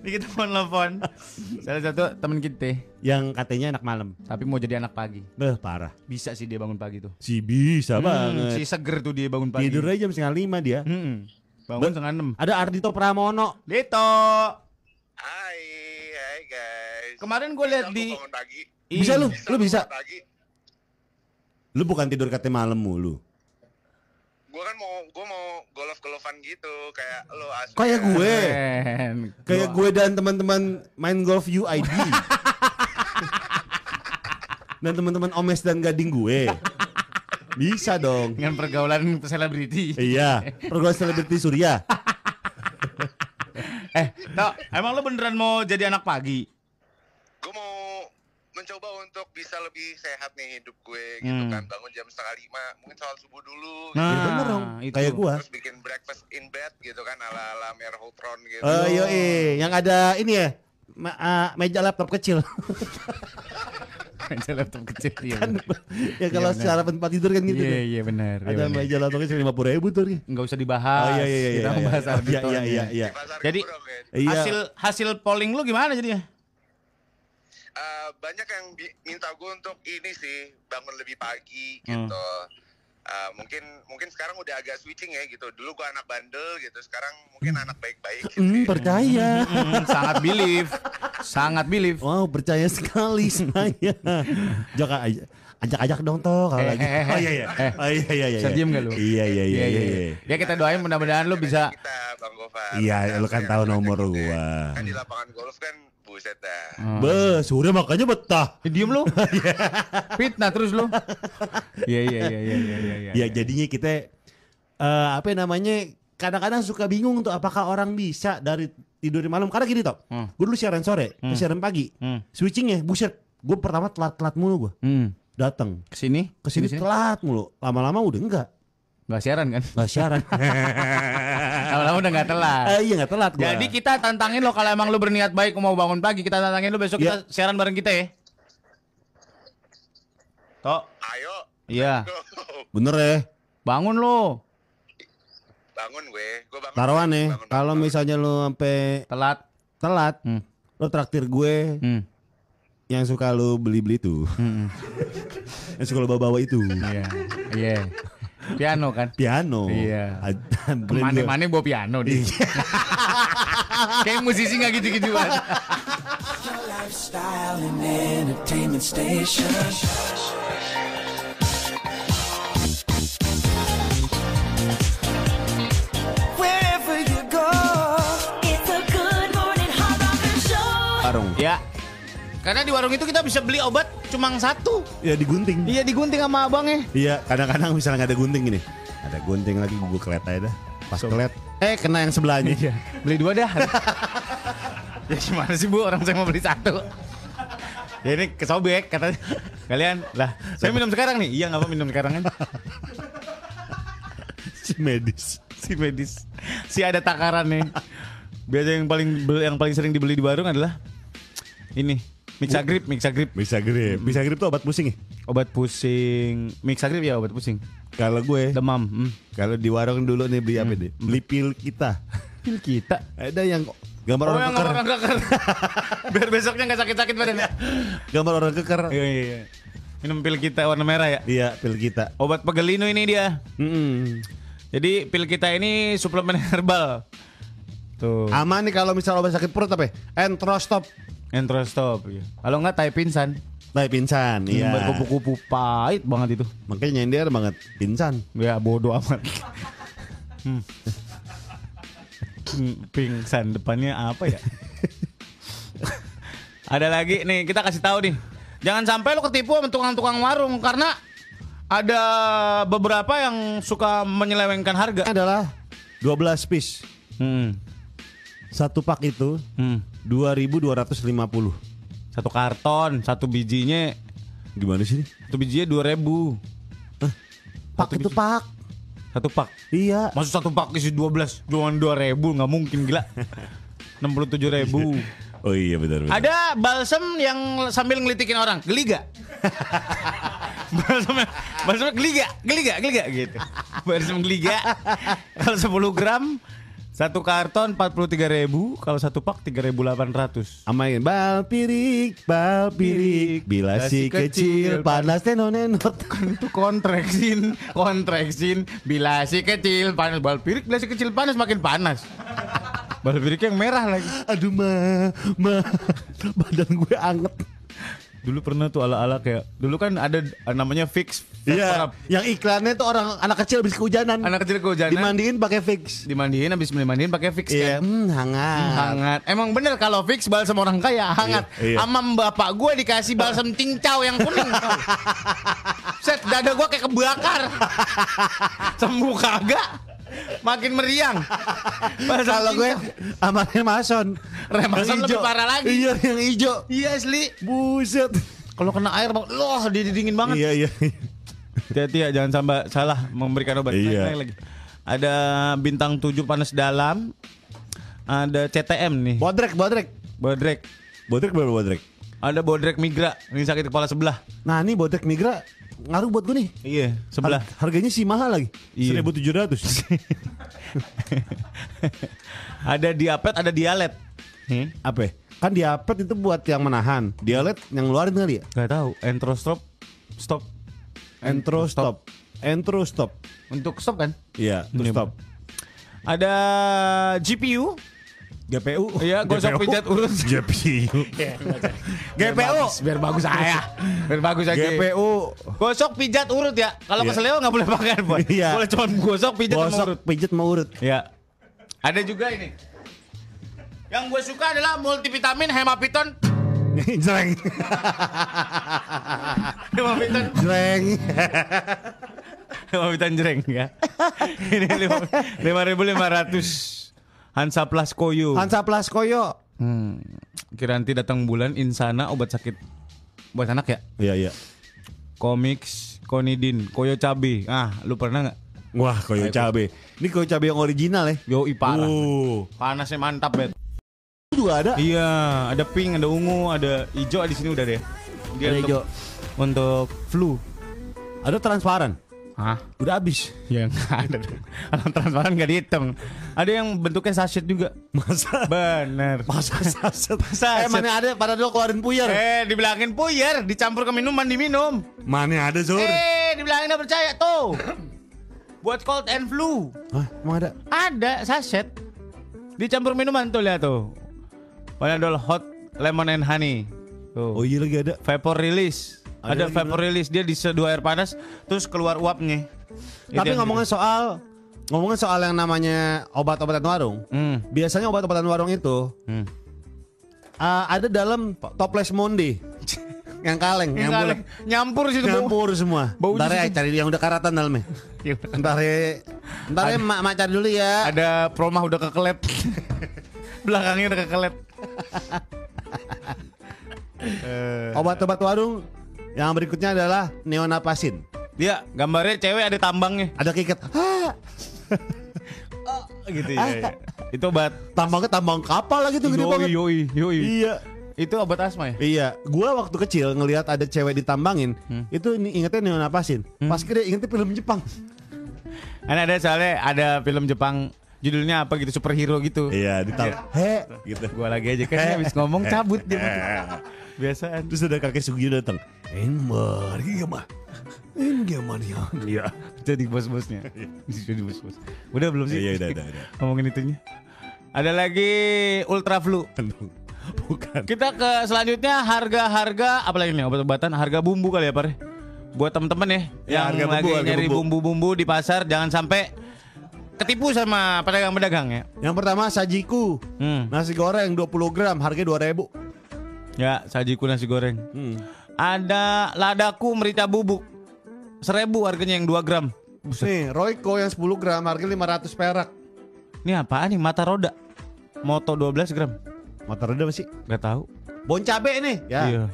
Speaker 2: Ini kita mau nelfon Salah satu temen kita
Speaker 3: Yang katanya anak malam.
Speaker 2: Tapi mau jadi anak pagi
Speaker 3: Beh, parah.
Speaker 2: Bisa sih dia bangun pagi tuh
Speaker 3: Si bisa
Speaker 2: Hmm,
Speaker 3: banget.
Speaker 2: Si seger tuh dia bangun pagi
Speaker 3: Tidurnya jam setengah lima dia.
Speaker 2: Mm-mm. hmm. Bangun setengah enam
Speaker 3: Ada Ardito Pramono.
Speaker 2: Lito
Speaker 8: Hai, hai guys.
Speaker 2: Kemarin gue liat di
Speaker 8: bangun pagi.
Speaker 3: Bisa lu, lu bisa.
Speaker 8: Bangun Pagi.
Speaker 3: Lu bukan tidur katanya malam mulu.
Speaker 8: Gue kan mau gue mau golf-golfan gitu kayak lo asli.
Speaker 3: Kayak gue.
Speaker 2: Eh. Keren.
Speaker 3: Kayak gue dan teman-teman main golf UID. dan teman-teman Omes dan Gading gue. Bisa dong.
Speaker 2: Dengan pergaulan selebriti
Speaker 3: Iya, pergaulan selebriti Surya.
Speaker 2: Eh, Tok, emang lo beneran mau jadi anak pagi?
Speaker 8: Gue mau mencoba untuk bisa lebih sehat nih hidup gue gitu
Speaker 2: Hmm. Nah,
Speaker 8: kan bangun jam setengah lima mungkin sholat subuh dulu
Speaker 2: Iya,
Speaker 3: Ya bener dong,
Speaker 2: Ah, itu.
Speaker 3: kayak gue.
Speaker 8: terus bikin breakfast in bed gitu kan ala ala Merhotron gitu
Speaker 3: Eh, yoi, yang ada ini ya, ma- ah, meja laptop kecil.
Speaker 2: Meja laptop kecil iya bener.
Speaker 3: ya kalau
Speaker 2: Iya, benar.
Speaker 3: secara tempat tidur kan gitu.
Speaker 2: Iya,
Speaker 3: tuh.
Speaker 2: iya bener iya
Speaker 3: Ada
Speaker 2: bener.
Speaker 3: meja laptop kecil lima puluh ribu tuh. Ri.
Speaker 2: nggak usah dibahas.
Speaker 3: Oh, iya, iya, iya,
Speaker 2: Kita
Speaker 3: iya,
Speaker 2: membahas
Speaker 3: iya,
Speaker 2: arbitrnya.
Speaker 3: iya, iya, iya.
Speaker 8: di pasar
Speaker 2: Jadi-
Speaker 8: Gembrong, ya.
Speaker 3: Iya.
Speaker 2: Hasil hasil polling lu gimana jadinya?
Speaker 8: Eh, banyak yang bi- minta gue untuk ini sih bangun lebih pagi
Speaker 3: Hmm.
Speaker 8: gitu Eh, mungkin mungkin sekarang udah agak switching ya gitu dulu gue anak bandel gitu sekarang mungkin anak baik-baik gitu
Speaker 3: Hmm,
Speaker 8: ya.
Speaker 3: percaya.
Speaker 2: Hmm, sangat believe. Sangat believe.
Speaker 3: Wow, percaya sekali saya. Jaka aj- ajak-ajak dong toh kalau
Speaker 2: Eh,
Speaker 3: lagi.
Speaker 2: eh, eh,
Speaker 3: Oh iya iya.
Speaker 2: eh.
Speaker 3: Oh iya iya iya.
Speaker 2: Bisa
Speaker 3: iya.
Speaker 2: diem nggak lu?
Speaker 3: Iya iya iya iya. iya.
Speaker 2: Ya kita doain mudah-mudahan lu bisa
Speaker 8: kita bang Gofar Nah,
Speaker 3: Iya, lu kan tahu nomor
Speaker 8: gue
Speaker 3: gua. Hmm.
Speaker 8: kan di lapangan golf kan buset dah
Speaker 2: Hmm.
Speaker 3: Be, sudah makanya betah.
Speaker 2: Eh, diem lu. Fitnah terus lu. Iya iya iya iya iya iya.
Speaker 3: Ya, jadinya kita eh apa namanya? Kadang-kadang suka bingung tuh apakah orang bisa dari tidur di malam karena gini toh.
Speaker 2: Hmm.
Speaker 3: Gue dulu siaran sore, ke siaran pagi.
Speaker 2: Hmm.
Speaker 3: Switching ya, buset. Gue pertama telat-telat mulu gue.
Speaker 2: Hmm.
Speaker 3: Datang
Speaker 2: Kesini?
Speaker 3: ke sini telat mulu. Lama-lama udah enggak.
Speaker 2: Gak siaran kan?
Speaker 3: Enggak siaran.
Speaker 2: Lama-lama udah gak telat.
Speaker 3: Eh, iya enggak telat gua.
Speaker 2: Jadi kita tantangin lo kalau emang lo berniat baik mau bangun pagi, kita tantangin lo besok
Speaker 3: Ya.
Speaker 2: kita siaran bareng kita ya. Tok.
Speaker 8: ayo
Speaker 2: Iya.
Speaker 8: go
Speaker 3: bener ya.
Speaker 2: Bangun lo.
Speaker 8: bangun gue gue bangun
Speaker 3: Taruhan nih,
Speaker 8: Bangun, bangun,
Speaker 3: kalau
Speaker 8: bangun.
Speaker 3: misalnya lu sampai
Speaker 2: Telat.
Speaker 3: telat,
Speaker 2: Hmm.
Speaker 3: lu traktir gue
Speaker 2: Hmm.
Speaker 3: yang suka lu beli-beli tuh. yang suka lu bawa-bawa itu.
Speaker 2: Iya. Iya. Piano kan.
Speaker 3: Piano.
Speaker 2: Iya.
Speaker 3: Ada- beliin lu.
Speaker 2: Kemana-mana bawa piano dia. Kayak musisi nggak gitu-gitu banget.
Speaker 9: Lifestyle and entertainment station. Wherever you go.
Speaker 6: It's a good morning hot rocker show.
Speaker 3: Warung.
Speaker 2: Ya. Karena di warung itu kita bisa beli obat cuma satu.
Speaker 3: Ya digunting.
Speaker 2: Iya digunting sama abangnya.
Speaker 3: Iya, kadang-kadang misalnya nggak ada gunting gini. Ada gunting lagi gue kelet aja dah. Pas kelet, eh kena yang sebelahnya.
Speaker 2: Beli dua dah. ya gimana sih bu orang saya mau beli satu. ya ini kesobek katanya. Kalian lah, saya minum sekarang nih. Iya nggak apa minum sekarang kan?
Speaker 3: si medis.
Speaker 2: si medis, si ada takaran nih. Biasa yang paling yang paling sering dibeli di warung adalah ini mixagrip, mixagrip,
Speaker 3: Bisa grip. Bisa grip tuh obat pusing ya?
Speaker 2: obat pusing, mixagrip ya obat pusing,
Speaker 3: Kalau gue,
Speaker 2: demam. Hmm.
Speaker 3: kalau di warung dulu nih beli apa deh? Beli pil kita.
Speaker 2: Pil kita.
Speaker 3: Ada yang gambar
Speaker 2: Oh
Speaker 3: orang
Speaker 2: yang
Speaker 3: keker.
Speaker 2: orang keker. Biar besoknya nggak sakit-sakit badannya.
Speaker 3: Gambar orang keker.
Speaker 2: Iya iya. iya. Minum pil kita warna merah ya.
Speaker 3: Iya, pil kita.
Speaker 2: Obat pegelino ini dia.
Speaker 3: Mm-mm.
Speaker 4: Jadi pil kita ini suplemen herbal. Tuh.
Speaker 3: Aman nih kalau misalnya obat sakit perut apa? ya? Entrostop.
Speaker 4: Entrostop. iya. Kalau nggak tai pinsan.
Speaker 3: Nah, pinsan.
Speaker 2: Hmm,
Speaker 3: Iya.
Speaker 4: Nyumbat kupu-kupu pahit banget itu.
Speaker 3: Makanya nyender banget pinsan.
Speaker 4: Ya bodoh amat. Hmm. Hmm, Pingsan depannya apa ya? Ada lagi nih kita kasih tahu nih. Jangan sampai lo ketipu sama tukang-tukang warung karena ada beberapa yang suka menyelewengkan harga.
Speaker 3: Adalah 12 piece.
Speaker 4: Hmm.
Speaker 3: Satu pak itu
Speaker 4: Hmm.
Speaker 3: 2250.
Speaker 4: Satu karton, satu bijinya,
Speaker 3: Gimana sih? ini?
Speaker 4: satu bijinya 2000.
Speaker 3: Pak
Speaker 4: Satu
Speaker 3: itu
Speaker 4: biji.
Speaker 3: pak.
Speaker 4: Satu pak.
Speaker 3: Iya.
Speaker 4: Maksud satu pak isi 12, jangan 2000 nggak mungkin gila. 67000.
Speaker 2: Oh iya benar benar.
Speaker 4: Ada balsem yang sambil ngelitikin orang, geli gak? balsem, balsem geli gak? Geli gak? Geli gak? Gitu. Balsem geli gak? Kalau 10 gram, satu karton 43.000 kalau satu pak 3.800.
Speaker 3: Amain bal pirik, bal pirik. Bila si kecil kan? panas nenonenot.
Speaker 4: Kan Itu kontraksin, kontraksin. Bila si kecil panas, bal pirik bila si kecil panas makin panas. Bal pirik yang merah lagi.
Speaker 3: Aduh ma, ma, badan gue anget.
Speaker 4: Dulu pernah tuh ala-ala kayak, dulu kan ada eh, namanya fix. fix
Speaker 3: Iya,
Speaker 4: prop.
Speaker 3: yang iklannya tuh orang anak kecil habis kehujanan.
Speaker 4: Anak kecil kehujanan.
Speaker 3: Dimandiin pakai fix.
Speaker 4: dimandiin habis dimandiin pakai fix kan?
Speaker 3: Iya, hmm, hangat.
Speaker 4: hangat. Emang bener kalau fix balsam orang kaya hangat.
Speaker 2: Iya, iya.
Speaker 4: Sama bapak gue dikasih balsam cincau yang kuning. Set dada gue kayak kebakar. Sembuh kagak. Makin meriang. Balsam
Speaker 3: Kalau gue
Speaker 4: cincau.
Speaker 3: sama Remason.
Speaker 4: Remason
Speaker 3: Yang
Speaker 4: lebih
Speaker 3: ijo.
Speaker 4: parah lagi.
Speaker 3: Iya, yang ijo.
Speaker 4: Iya asli.
Speaker 3: Buset.
Speaker 4: Kalau kena air bang, loh dia dingin banget.
Speaker 3: Iya, iya.
Speaker 4: Hati-hati ya jangan sampai salah memberikan obat. Naik,
Speaker 2: Iya.
Speaker 4: naik lagi. Ada bintang 7 panas dalam. Ada CTM nih.
Speaker 3: Bodrek, bodrek.
Speaker 4: Bodrek.
Speaker 2: Bodrek baru bodrek.
Speaker 4: Ada bodrek migra, ini sakit kepala sebelah.
Speaker 3: Nah, ini bodrek migra ngaruh buat gue nih.
Speaker 4: Iya, sebelah.
Speaker 3: Har- Harganya sih mahal lagi.
Speaker 4: Iya.
Speaker 2: 1700.
Speaker 4: ada diapet, ada dialet. Nih,
Speaker 3: Apa? ya? Kan diapet itu buat yang menahan. Dialet yang ngeluarin kali ya?
Speaker 4: nggak tahu. Entrostop, stop.
Speaker 3: Entro stop. Entro stop.
Speaker 4: Untuk stop kan?
Speaker 2: Iya,
Speaker 3: Entro
Speaker 4: Ini-
Speaker 3: stop.
Speaker 4: Ada GPU,
Speaker 2: GPU.
Speaker 4: Iya, gosok pijat urut.
Speaker 2: GPU.
Speaker 4: Iya, GPU. Biar bagus saya. Biar bagus aja.
Speaker 3: GPU.
Speaker 4: Gosok pijat urut ya. Kalau keseleo nggak boleh pakai handphone.
Speaker 3: Iya.
Speaker 4: Boleh cuma gosok pijat sama urut.
Speaker 3: Gosok pijet mau urut.
Speaker 4: Ya. Ada juga ini. Yang gue suka adalah multivitamin hemapiton.
Speaker 3: Jreng.
Speaker 4: Hemapiton.
Speaker 3: Jreng.
Speaker 4: lima pitan jereng ya. Ini lima lima ribu lima ratus. Hansa Plus Koyo.
Speaker 3: Hansa Plus Koyo.
Speaker 4: Hmm. Kiranti datang bulan Insana obat sakit buat anak ya.
Speaker 2: Iya, iya.
Speaker 4: Komiks Konidin Koyo Cabe. Ah, lu pernah nggak?
Speaker 2: Wah, koyo cabe.
Speaker 3: Ini koyo cabe yang original ya.
Speaker 4: Yo parah.
Speaker 2: Uh.
Speaker 4: Panasnya mantap bet.
Speaker 3: Itu juga ada.
Speaker 4: Iya, ada pink, ada ungu, ada hijau di sini udah deh. Dia
Speaker 3: Ada
Speaker 4: untuk,
Speaker 3: hijau.
Speaker 4: untuk flu.
Speaker 3: Ada transparan.
Speaker 4: Hah?
Speaker 3: Udah habis.
Speaker 4: Yang Ya, ada dong. Alam transparan gak dihitung. Ada yang bentuknya sachet juga.
Speaker 3: Masa
Speaker 4: Bener.
Speaker 3: masa saset.
Speaker 4: Saset.
Speaker 3: Eh mana ada pada dulu keluarin puyer.
Speaker 4: Eh, dibilangin puyer, dicampur ke minuman diminum.
Speaker 3: Mana ada Zur?
Speaker 4: Eh, dibilangin nggak percaya tuh. Buat cold and flu.
Speaker 3: Hah, emang ada?
Speaker 4: Ada sachet. Dicampur minuman tuh lihat tuh. Panadol hot lemon and honey. Tuh.
Speaker 3: Oh iya lagi ada.
Speaker 4: Vapor release. Ada,
Speaker 3: Ada lagi
Speaker 4: vapor release dia diseduh air panas terus keluar uapnya. Itu
Speaker 3: Tapi
Speaker 4: yang-
Speaker 3: ngomongin soal ngomongin soal yang namanya obat-obatan warung.
Speaker 4: Hmm.
Speaker 3: Biasanya obat-obatan warung itu
Speaker 4: Hmm.
Speaker 3: uh, ada dalam toples monde. yang kaleng, yang bulat.
Speaker 4: nyampur situ Bu.
Speaker 3: Nyampur semua.
Speaker 4: Baunya
Speaker 3: Ntar ya
Speaker 4: sih-
Speaker 3: cari yang udah karatan dalamnya. Ntar ya, ntar ya mak mak cari dulu ya.
Speaker 4: Ada promah udah kekelep. Belakangnya udah kekelep.
Speaker 3: Obat-obat warung yang berikutnya adalah neonapasin.
Speaker 4: Dia gambarnya cewek ada tambangnya.
Speaker 3: Ada kiket. Ah,
Speaker 4: gitu ya. ya. Itu obat
Speaker 3: tambangnya tambang kapal lagi tuh gede banget.
Speaker 4: yoi yoi.
Speaker 3: Iya.
Speaker 4: Itu obat asma ya?
Speaker 3: Iya, gua waktu kecil ngelihat ada cewek ditambangin, itu ini ingetnya neonapasin. Pas gede ingetnya film Jepang.
Speaker 4: Karena ada soalnya ada film Jepang judulnya apa gitu superhero gitu.
Speaker 2: Iya, ditang.
Speaker 3: He,
Speaker 2: Gitu.
Speaker 4: Gua lagi aja kan habis ngomong cabut dia. Biasaan.
Speaker 2: Terus ada kakek Sugio datang. Enmar, iya mah.
Speaker 3: ya."
Speaker 4: Iya. Jadi bos-bosnya. Jadi bos-bos. Udah belum sih?
Speaker 10: Iya, udah, udah, udah.
Speaker 4: Ngomongin itunya. Ada lagi Ultra Flu.
Speaker 10: Bukan.
Speaker 4: Kita ke selanjutnya harga-harga apalagi nih obat-obatan harga bumbu kali ya Pak. Buat temen-temen ya,
Speaker 10: Ya, harga
Speaker 4: yang
Speaker 10: bumbu,
Speaker 4: lagi
Speaker 10: harga
Speaker 4: nyari
Speaker 10: bumbu.
Speaker 4: bumbu-bumbu di pasar jangan sampai ketipu sama pedagang-pedagang ya.
Speaker 3: Yang pertama sajiku
Speaker 4: Hmm.
Speaker 3: nasi goreng 20 gram harga 2000.
Speaker 4: Ya, sajiku nasi goreng.
Speaker 3: Hmm.
Speaker 4: Ada ladaku merica bubuk. Seribu harganya yang 2 gram.
Speaker 3: Nih, Royco yang 10 gram harga 500 perak.
Speaker 4: Ini apaan nih? Mata roda. Moto 12 gram.
Speaker 3: Motor udah masih.
Speaker 4: Gak tahu.
Speaker 3: Bon cabe nih. Ya.
Speaker 4: Iya.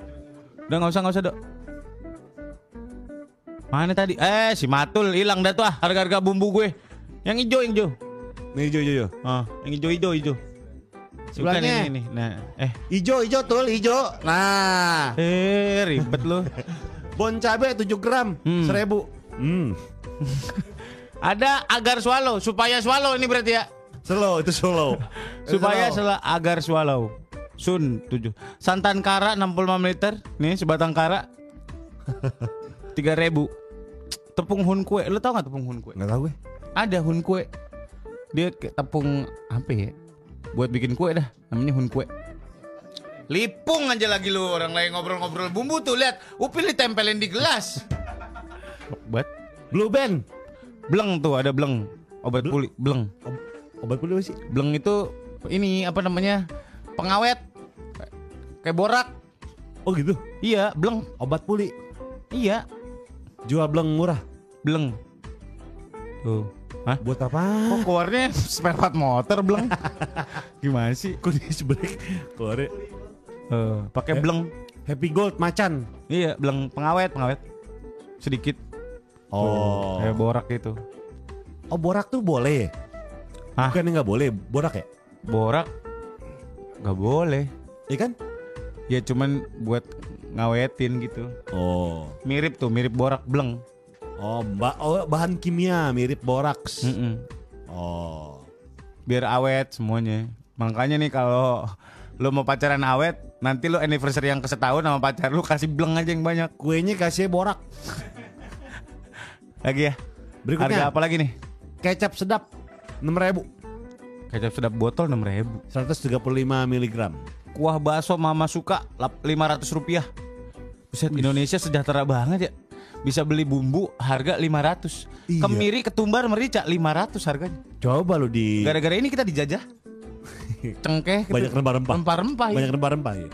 Speaker 4: Udah nggak usah nggak usah dok. Mana tadi? Eh si Matul hilang dah tuh ah harga-harga bumbu gue. Yang hijau yang hijau.
Speaker 3: Nih hijau hijau.
Speaker 4: Ah, yang hijau hijau hijau.
Speaker 3: Sebelahnya.
Speaker 4: Bukan ini, ini. Nah, eh
Speaker 3: Hijau hijau tul hijau. Nah,
Speaker 4: eh ribet lu.
Speaker 3: bon cabe 7 gram
Speaker 4: Hmm.
Speaker 3: 1000.
Speaker 10: Hmm.
Speaker 4: Ada agar swallow supaya swallow ini berarti ya.
Speaker 3: Slow itu slow.
Speaker 4: Supaya
Speaker 3: Slow.
Speaker 4: sela- agar swallow. Sun 7. Santan kara 65 liter. Nih sebatang kara 3000. Tepung hun kue. Lu tau gak tepung hun kue?
Speaker 3: Nggak tahu gue.
Speaker 4: ada hun kue dia ke tepung apa ya buat bikin kue dah namanya hun kue lipung aja lagi lu orang lain ngobrol-ngobrol bumbu tuh lihat upil ditempelin di gelas obat
Speaker 3: Blue Band.
Speaker 4: bleng tuh ada bleng obat pulih bleng
Speaker 3: Ob- obat pulih apa sih.
Speaker 4: bleng itu ini apa namanya pengawet kayak borak
Speaker 3: Oh gitu.
Speaker 4: iya bleng
Speaker 3: Obat pulih.
Speaker 4: iya
Speaker 3: Jual bleng murah.
Speaker 4: bleng tuh Hah?
Speaker 3: Buat apa?
Speaker 4: Kok keluarnya spare part motor bleng? Gimana sih?
Speaker 3: Kok di sebelah keluar
Speaker 4: Eh, pakai bleng.
Speaker 3: Happy Gold macan.
Speaker 4: Iya, beleng pengawet, pengawet. Sedikit
Speaker 3: Oh.
Speaker 4: kayak borak gitu.
Speaker 3: Oh borak tuh boleh. ya?
Speaker 4: Hah?
Speaker 3: Bukan nggak boleh borak ya?
Speaker 4: Borak nggak boleh.
Speaker 3: Iya kan?
Speaker 4: Ya cuman buat ngawetin gitu.
Speaker 3: Oh.
Speaker 4: Mirip tuh, mirip borak bleng.
Speaker 3: Oh, ba- oh, bahan kimia mirip boraks.
Speaker 4: Mm-mm.
Speaker 3: Oh.
Speaker 4: Biar awet semuanya. Makanya nih kalau lo mau pacaran awet, nanti lo anniversary yang kesetahun sama pacar lo kasih bleng aja yang banyak.
Speaker 3: Kuenya kasih borak.
Speaker 4: Lagi ya.
Speaker 3: Berikutnya.
Speaker 4: Harga apa lagi nih?
Speaker 3: Kecap sedap 6000.
Speaker 4: Kecap sedap botol 6000
Speaker 3: 135 mg.
Speaker 4: Kuah bakso mama suka lap- 500 rupiah Buset, Indonesia sejahtera banget ya Bisa beli bumbu harga 500
Speaker 3: Iya.
Speaker 4: Kemiri, ketumbar, merica 500 harganya
Speaker 3: Coba lu di
Speaker 4: Gara-gara ini kita dijajah Cengkeh gitu.
Speaker 3: Iya. banyak rempah-rempah.
Speaker 4: Rempah-rempah
Speaker 3: Banyak
Speaker 4: ya.
Speaker 3: rempah-rempah ya.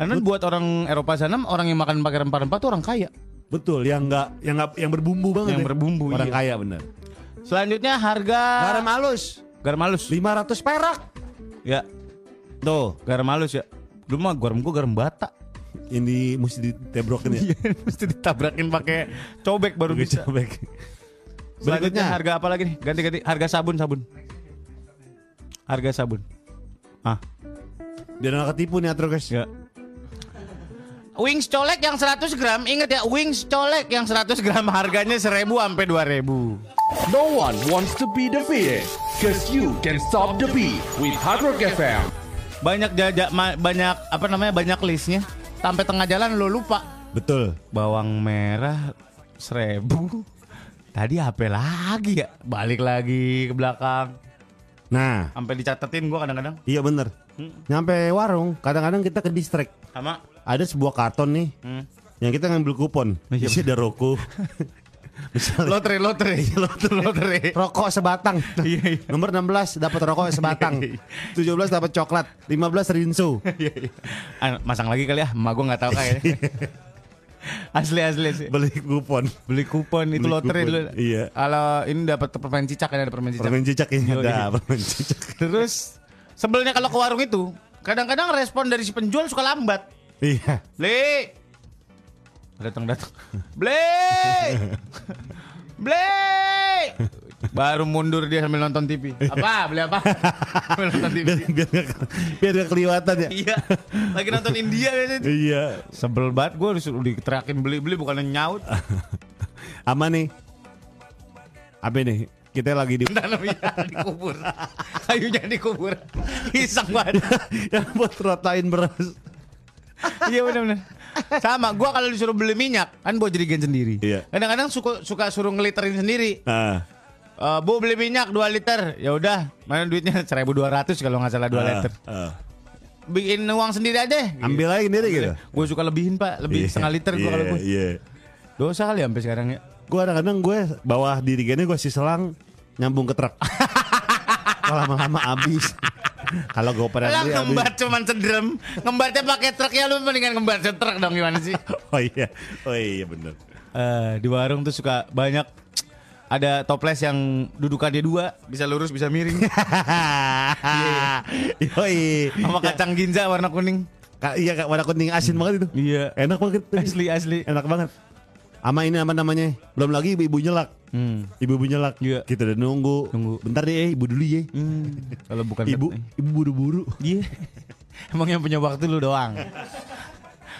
Speaker 4: Karena buat orang Eropa sana Orang yang makan pakai rempah-rempah tuh orang kaya
Speaker 3: Betul, yang enggak yang nggak yang berbumbu banget.
Speaker 4: Yang
Speaker 3: ya.
Speaker 4: berbumbu,
Speaker 3: Orang
Speaker 4: iya.
Speaker 3: kaya bener.
Speaker 4: Selanjutnya harga
Speaker 3: Garam halus
Speaker 4: Garam halus
Speaker 3: 500 perak.
Speaker 4: Ya,
Speaker 3: Tuh,
Speaker 4: garam halus ya Dulu mah garam gua garam bata
Speaker 3: yang di mesti ditebrokin ya.
Speaker 4: Mesti ditabrakin pakai cobek baru Iya, bisa
Speaker 3: Sobek.
Speaker 4: Selanjutnya
Speaker 3: Berikutnya.
Speaker 4: harga apa lagi nih? Ganti-ganti harga sabun sabun. Harga sabun. Ah,
Speaker 3: Biar nggak ketipu nih Atro guys.
Speaker 4: ya. Wings colek yang 100 gram, inget ya, wings colek yang 100 gram harganya 1000 sampai 2000.
Speaker 5: No one wants to be defeated, cause you can stop the beat with Hard Rock FM.
Speaker 4: Banyak jajak ma- banyak apa namanya? banyak listnya. Sampai tengah jalan lo lupa.
Speaker 3: Betul.
Speaker 4: Bawang merah 1000. Tadi HP lagi ya? Balik lagi ke belakang.
Speaker 3: Nah,
Speaker 4: Sampai dicatetin gua kadang-kadang
Speaker 3: Iya bener
Speaker 4: Hmm.
Speaker 3: Nyampe warung Kadang-kadang kita ke distrik
Speaker 4: sama
Speaker 3: Ada sebuah karton nih Yang kita ngambil kupon
Speaker 4: Hmm. Iya,
Speaker 3: Isi ada rokok Misalnya
Speaker 4: lotre lotre lotre lotre.
Speaker 3: Rokok sebatang
Speaker 4: Iya, iya.
Speaker 3: Nomor 16 dapat rokok sebatang 17 dapat coklat 15 rinso
Speaker 4: Iya. Ah, Masang lagi kali ya, emak gue gak tau kayaknya Asli asli sih
Speaker 3: Beli kupon
Speaker 4: Beli kupon itu
Speaker 3: Beli
Speaker 4: lotre
Speaker 3: kupon,
Speaker 4: dulu
Speaker 3: iya.
Speaker 4: Kalau ini dapat permen cicak kan ada permen cicak
Speaker 3: Permen cicak ini
Speaker 4: Yoi.
Speaker 3: ada Permen cicak
Speaker 4: Terus sebelnya kalau ke warung itu Kadang-kadang respon dari si penjual suka lambat
Speaker 3: Iya
Speaker 4: Beli Datang datang Beli Beli Baru mundur dia sambil nonton TV Apa? Beli apa? Sambil nonton TV
Speaker 3: Biar biar gak, biar gak kelihatan ya
Speaker 4: Iya Lagi nonton India biasanya
Speaker 3: Iya
Speaker 4: Sebel banget gue disuruh diterakin beli-beli bukannya nyaut
Speaker 3: Ama nih Apa nih Kita lagi di
Speaker 4: Tanamnya dikubur Kayunya dikubur Iseng banget
Speaker 3: Yang buat rotain beras
Speaker 4: Iya bener-bener Sama, gua kalau disuruh beli minyak kan gua jerigen sendiri.
Speaker 11: Iya.
Speaker 4: Kadang-kadang suka suka suruh ngeliterin sendiri.
Speaker 11: Nah,
Speaker 4: Eh, bu beli minyak 2 liter. Ya udah, mana duitnya 1200 kalau nggak salah 2
Speaker 3: Ah,
Speaker 11: eh,
Speaker 4: liter.
Speaker 11: eh.
Speaker 4: Bikin uang sendiri aja.
Speaker 3: Ambil aja sendiri gitu.
Speaker 4: Gue suka lebihin, Pak. Iya. Lebih
Speaker 11: Iya,
Speaker 4: setengah liter gua
Speaker 11: iya,
Speaker 4: kalau gua.
Speaker 11: Iya.
Speaker 4: Dosa kali ya sampai sekarang ya.
Speaker 3: Gue kadang-kadang gue bawah dirigennya gue si selang nyambung ke truk. Kalau lama-lama habis. Kalau gue pernah
Speaker 4: Lah
Speaker 3: beli
Speaker 11: Iya,
Speaker 3: habis.
Speaker 4: ngembat cuman cedrem. Ngembatnya pakai truk ya lu mendingan ngembat truk dong gimana sih?
Speaker 11: Oh iya. Oh iya bener.
Speaker 4: Eh, di warung tuh suka banyak ada toples yang dudukannya dua, bisa lurus bisa miring.
Speaker 3: Yoi.
Speaker 4: Iya. Sama kacang ginza warna kuning.
Speaker 3: Ka- Iya kak warna kuning asin banget itu.
Speaker 4: Iya.
Speaker 3: Enak banget.
Speaker 4: Asli asli.
Speaker 11: Kan
Speaker 3: Enak banget. Ama ini apa namanya? Belum lagi ibu-ibu nyelak.
Speaker 4: Hmm.
Speaker 3: Ibu-ibu nyelak.
Speaker 4: Iya.
Speaker 3: Kita udah nunggu.
Speaker 4: Nunggu.
Speaker 3: Bentar deh, ibu dulu ya.
Speaker 4: Hmm, Kalau bukan
Speaker 3: Ibu,
Speaker 4: ket-
Speaker 3: ibu buru-buru.
Speaker 4: Iya. Emang yang punya waktu lu doang.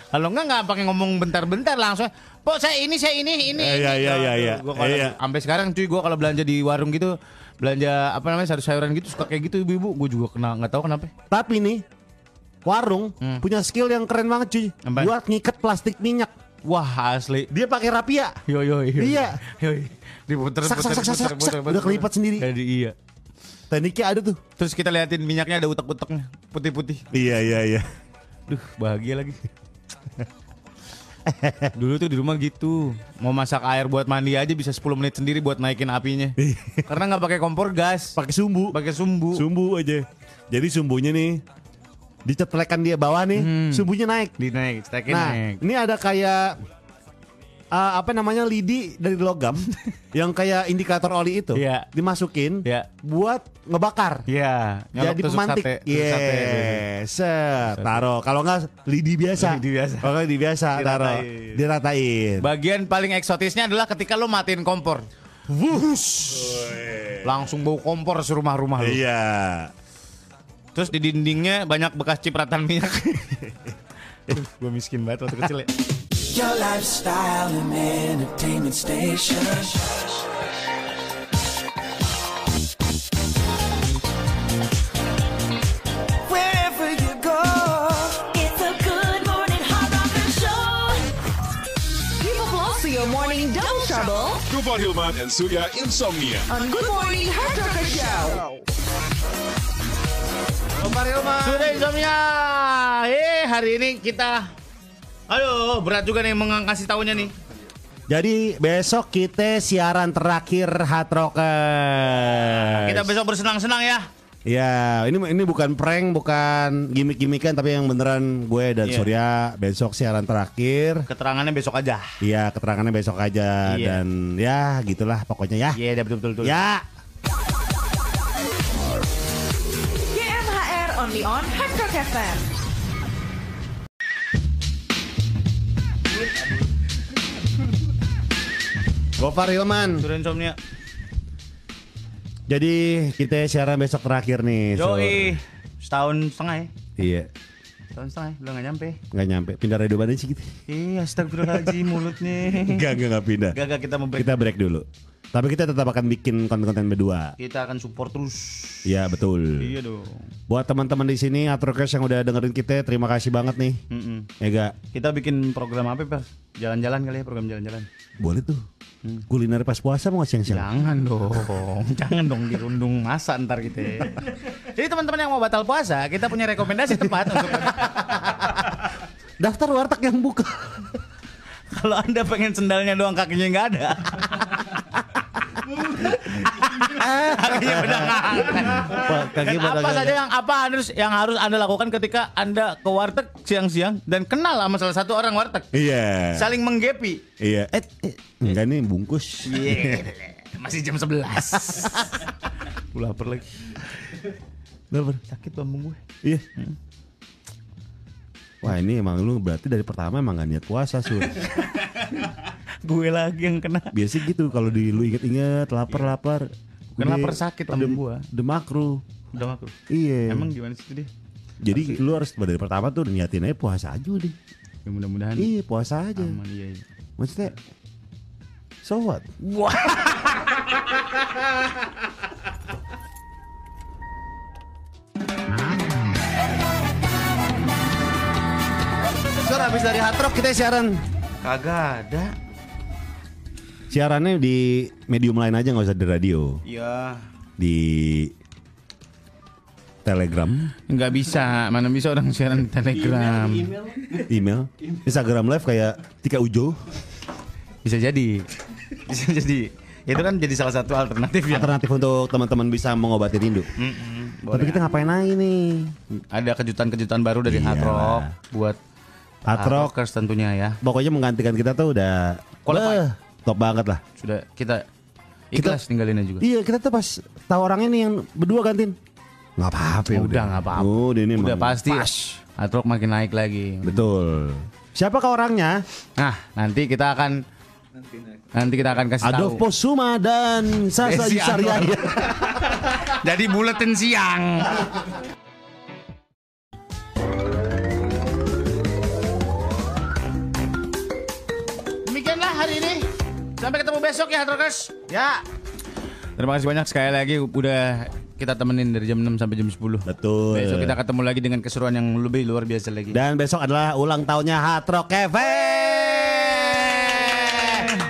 Speaker 4: Kalau enggak enggak pakai ngomong bentar-bentar langsung. Po saya ini saya ini ini.
Speaker 11: Eh,
Speaker 4: ini."
Speaker 11: iya, iya, iya,
Speaker 4: Aduh,
Speaker 11: iya.
Speaker 4: gua kalau-
Speaker 11: Iya.
Speaker 4: Sampai sekarang cuy gua kalau belanja di warung gitu belanja apa namanya sayur-sayuran gitu suka kayak gitu ibu-ibu gue juga kena nggak tahu kenapa
Speaker 3: Tapi nih warung
Speaker 4: Hmm.
Speaker 3: punya skill yang keren banget cuy.
Speaker 4: Apa?
Speaker 3: Buat ngikat plastik minyak.
Speaker 4: wah asli
Speaker 3: Dia pakai rapia.
Speaker 4: yo yo yo
Speaker 3: Iya.
Speaker 4: yo diputer
Speaker 3: Sak, sak,
Speaker 4: puter, puter,
Speaker 3: sak, sak, sak,
Speaker 4: puter,
Speaker 3: sak.
Speaker 4: puter,
Speaker 3: Udah kelipat
Speaker 4: puter.
Speaker 3: sendiri.
Speaker 4: jadi iya
Speaker 3: Tekniknya ada tuh.
Speaker 4: terus kita liatin minyaknya ada utak-utaknya putih-putih
Speaker 11: Iya iya iya.
Speaker 4: Duh bahagia lagi Dulu tuh di rumah gitu Mau masak air buat mandi aja bisa 10 menit sendiri buat naikin apinya
Speaker 3: Iya.
Speaker 4: Karena nggak pakai kompor gas
Speaker 3: Pakai sumbu.
Speaker 4: Pakai sumbu
Speaker 3: Sumbu aja. Jadi sumbunya nih dicetlekan dia bawah nih, sumbunya naik.
Speaker 4: Dinaik, stekin
Speaker 3: Nah,
Speaker 4: Hmm. naik
Speaker 3: ini ada kayak eh, apa namanya lidi dari logam yang kayak indikator oli itu
Speaker 4: Iya.
Speaker 3: dimasukin
Speaker 4: Iya.
Speaker 3: buat ngebakar.
Speaker 4: Iya nyolok
Speaker 3: Jadi
Speaker 4: tusuk
Speaker 3: pemantik. Iya.
Speaker 4: sate, tusuk
Speaker 3: Yes.
Speaker 4: sate.
Speaker 3: set. Taruh. Kalau enggak lidi biasa.
Speaker 4: Lidi biasa.
Speaker 3: Kalau lidi biasa taruh.
Speaker 4: Diratain.
Speaker 3: Diratain.
Speaker 4: Bagian paling eksotisnya adalah ketika lo matiin kompor Langsung bau kompor serumah-rumah lo
Speaker 11: Iya.
Speaker 4: Terus di dindingnya banyak bekas cipratan minyak Gue miskin banget waktu kecil ya
Speaker 9: Your lifestyle and entertainment station. Wherever you go,
Speaker 12: It's a good morning hard rocker show.
Speaker 1: Give a pause to your morning double trouble
Speaker 13: Dufan Hilman and Surya Insomnia.
Speaker 1: on Good Morning Hard Rocker Show.
Speaker 4: Sudah insomnia. Eh, hari ini kita Aduh, berat juga nih mengasih tahunya nih.
Speaker 3: Jadi besok kita siaran terakhir Hard Rockers.
Speaker 4: Kita besok bersenang-senang ya.
Speaker 3: Ya, ini ini bukan prank, bukan gimmick-gimmickan tapi yang beneran gue dan
Speaker 4: Iya.
Speaker 3: Surya besok siaran terakhir.
Speaker 4: Keterangannya besok aja.
Speaker 3: Iya, keterangannya besok aja
Speaker 4: Iya.
Speaker 3: dan ya gitulah pokoknya ya.
Speaker 4: Iya, betul betul betul.
Speaker 3: Ya.
Speaker 1: GMHR only on Hard Rock FM.
Speaker 3: Gofar Hilman.
Speaker 4: Sudah insomnia.
Speaker 3: Jadi kita siaran besok terakhir nih. Sur.
Speaker 4: Yoi. Setahun setengah ya.
Speaker 3: Iya,
Speaker 4: Setahun setengah, belum nggak nyampe.
Speaker 3: nggak nyampe. Pindah radio badan sih gitu.
Speaker 4: Iya, astagfirullahaladzim mulutnya.
Speaker 3: Enggak, enggak, enggak pindah.
Speaker 4: Gagal kita mau break.
Speaker 3: Kita break dulu. Tapi kita tetap akan bikin konten-konten berdua.
Speaker 4: Kita akan support terus.
Speaker 3: Iya, betul.
Speaker 4: Iya dong.
Speaker 3: Buat teman-teman di sini Atrokes yang udah dengerin kita, terima kasih banget nih.
Speaker 4: Mm-mm.
Speaker 3: Ya gak?
Speaker 4: Kita bikin program apa, Pak? Jalan-jalan kali ya, program jalan-jalan.
Speaker 3: Boleh tuh.
Speaker 4: Mm.
Speaker 3: Kuliner pas puasa mau siang-siang.
Speaker 4: Jangan dong, jangan dong dirundung masa ntar gitu ya. Jadi teman-teman yang mau batal puasa, kita punya rekomendasi tempat untuk
Speaker 3: Daftar warteg yang buka.
Speaker 4: kalau anda pengen sendalnya doang kakinya nggak ada. Ah, kakinya pada
Speaker 3: Wah, kaki
Speaker 4: Dan
Speaker 3: pada
Speaker 4: apa
Speaker 3: nggak-
Speaker 4: saja yang apa harus yang harus anda lakukan ketika anda ke warteg siang-siang dan kenal sama salah satu orang warteg,
Speaker 11: Iya.
Speaker 4: saling menggepi.
Speaker 11: Iya. Eh, eh,
Speaker 3: Enggak nih bungkus.
Speaker 4: Iya. Masih jam 11 Gue lapar lagi.
Speaker 3: Lapar.
Speaker 4: Sakit lambung gue.
Speaker 3: Iya.
Speaker 4: Mm.
Speaker 3: Wah ini emang lu berarti dari pertama emang gak niat puasa sur.
Speaker 4: Gue lagi yang kena.
Speaker 3: Biasa gitu kalau di lu inget-inget lapar-lapar.
Speaker 4: Iya. Bukan lapar, sakit lambung gua.
Speaker 3: Demakru.
Speaker 4: Udah makro.
Speaker 3: Iya.
Speaker 4: Emang gimana sih itu dia?
Speaker 3: Jadi lu harus dari pertama tuh niatin aja puasa aja deh.
Speaker 4: Ya mudah-mudahan
Speaker 3: Iya puasa aja.
Speaker 4: aman iya. iya.
Speaker 3: Maksudnya So what?
Speaker 4: Sur
Speaker 3: habis dari Hard Rock kita siaran.
Speaker 4: Kagak ada.
Speaker 3: Siarannya di medium lain aja nggak usah di radio.
Speaker 4: Iya.
Speaker 3: Di Telegram,
Speaker 4: Nggak bisa, mana bisa orang siaran di Telegram.
Speaker 3: email, Instagram live kayak Tika Ujo.
Speaker 4: Bisa jadi. Bisa jadi. Itu kan jadi salah satu alternatif ya.
Speaker 3: Alternatif untuk teman-teman bisa mengobati rindu. Tapi
Speaker 4: ya.
Speaker 3: kita ngapain lagi nih?
Speaker 4: Ada kejutan-kejutan baru dari
Speaker 3: Iya.
Speaker 4: Hard Rock buat
Speaker 3: Hard
Speaker 4: Hard
Speaker 3: Rock.
Speaker 4: Rockers tentunya ya.
Speaker 3: Pokoknya menggantikan kita tuh udah
Speaker 4: Qualified.
Speaker 3: Beuh, top banget lah.
Speaker 4: Sudah kita ikhlas ninggalinnya juga.
Speaker 3: Iya kita tuh pas tahu orangnya nih yang berdua gantiin. Nggak apa-apa.
Speaker 4: Udah, nggak apa-apa.
Speaker 3: Udah ini
Speaker 4: Udah
Speaker 3: emang
Speaker 4: pasti
Speaker 3: pas.
Speaker 4: Hard Rock makin naik lagi.
Speaker 3: Betul. Siapa kau orangnya?
Speaker 4: Nah, nanti kita akan nanti kita akan kasih tahu.
Speaker 3: Adolfo Suma dan Sasa
Speaker 4: Desi Anwar.
Speaker 3: Yusarian.
Speaker 4: Jadi buletin siang. Demikianlah hari ini. Sampai ketemu besok ya, Trokers. Ya. Terima kasih banyak sekali lagi udah kita temenin dari jam 6 sampai jam 10.
Speaker 3: Betul.
Speaker 4: Besok kita ketemu lagi dengan keseruan yang lebih luar biasa lagi.
Speaker 3: Dan besok adalah ulang tahunnya Hard Rock Cafe.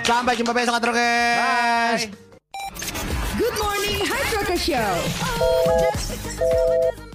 Speaker 3: Sampai jumpa besok Hard Rockers.
Speaker 14: Good morning, Hard Rocker Show.
Speaker 1: Oh, just because it's coming doesn't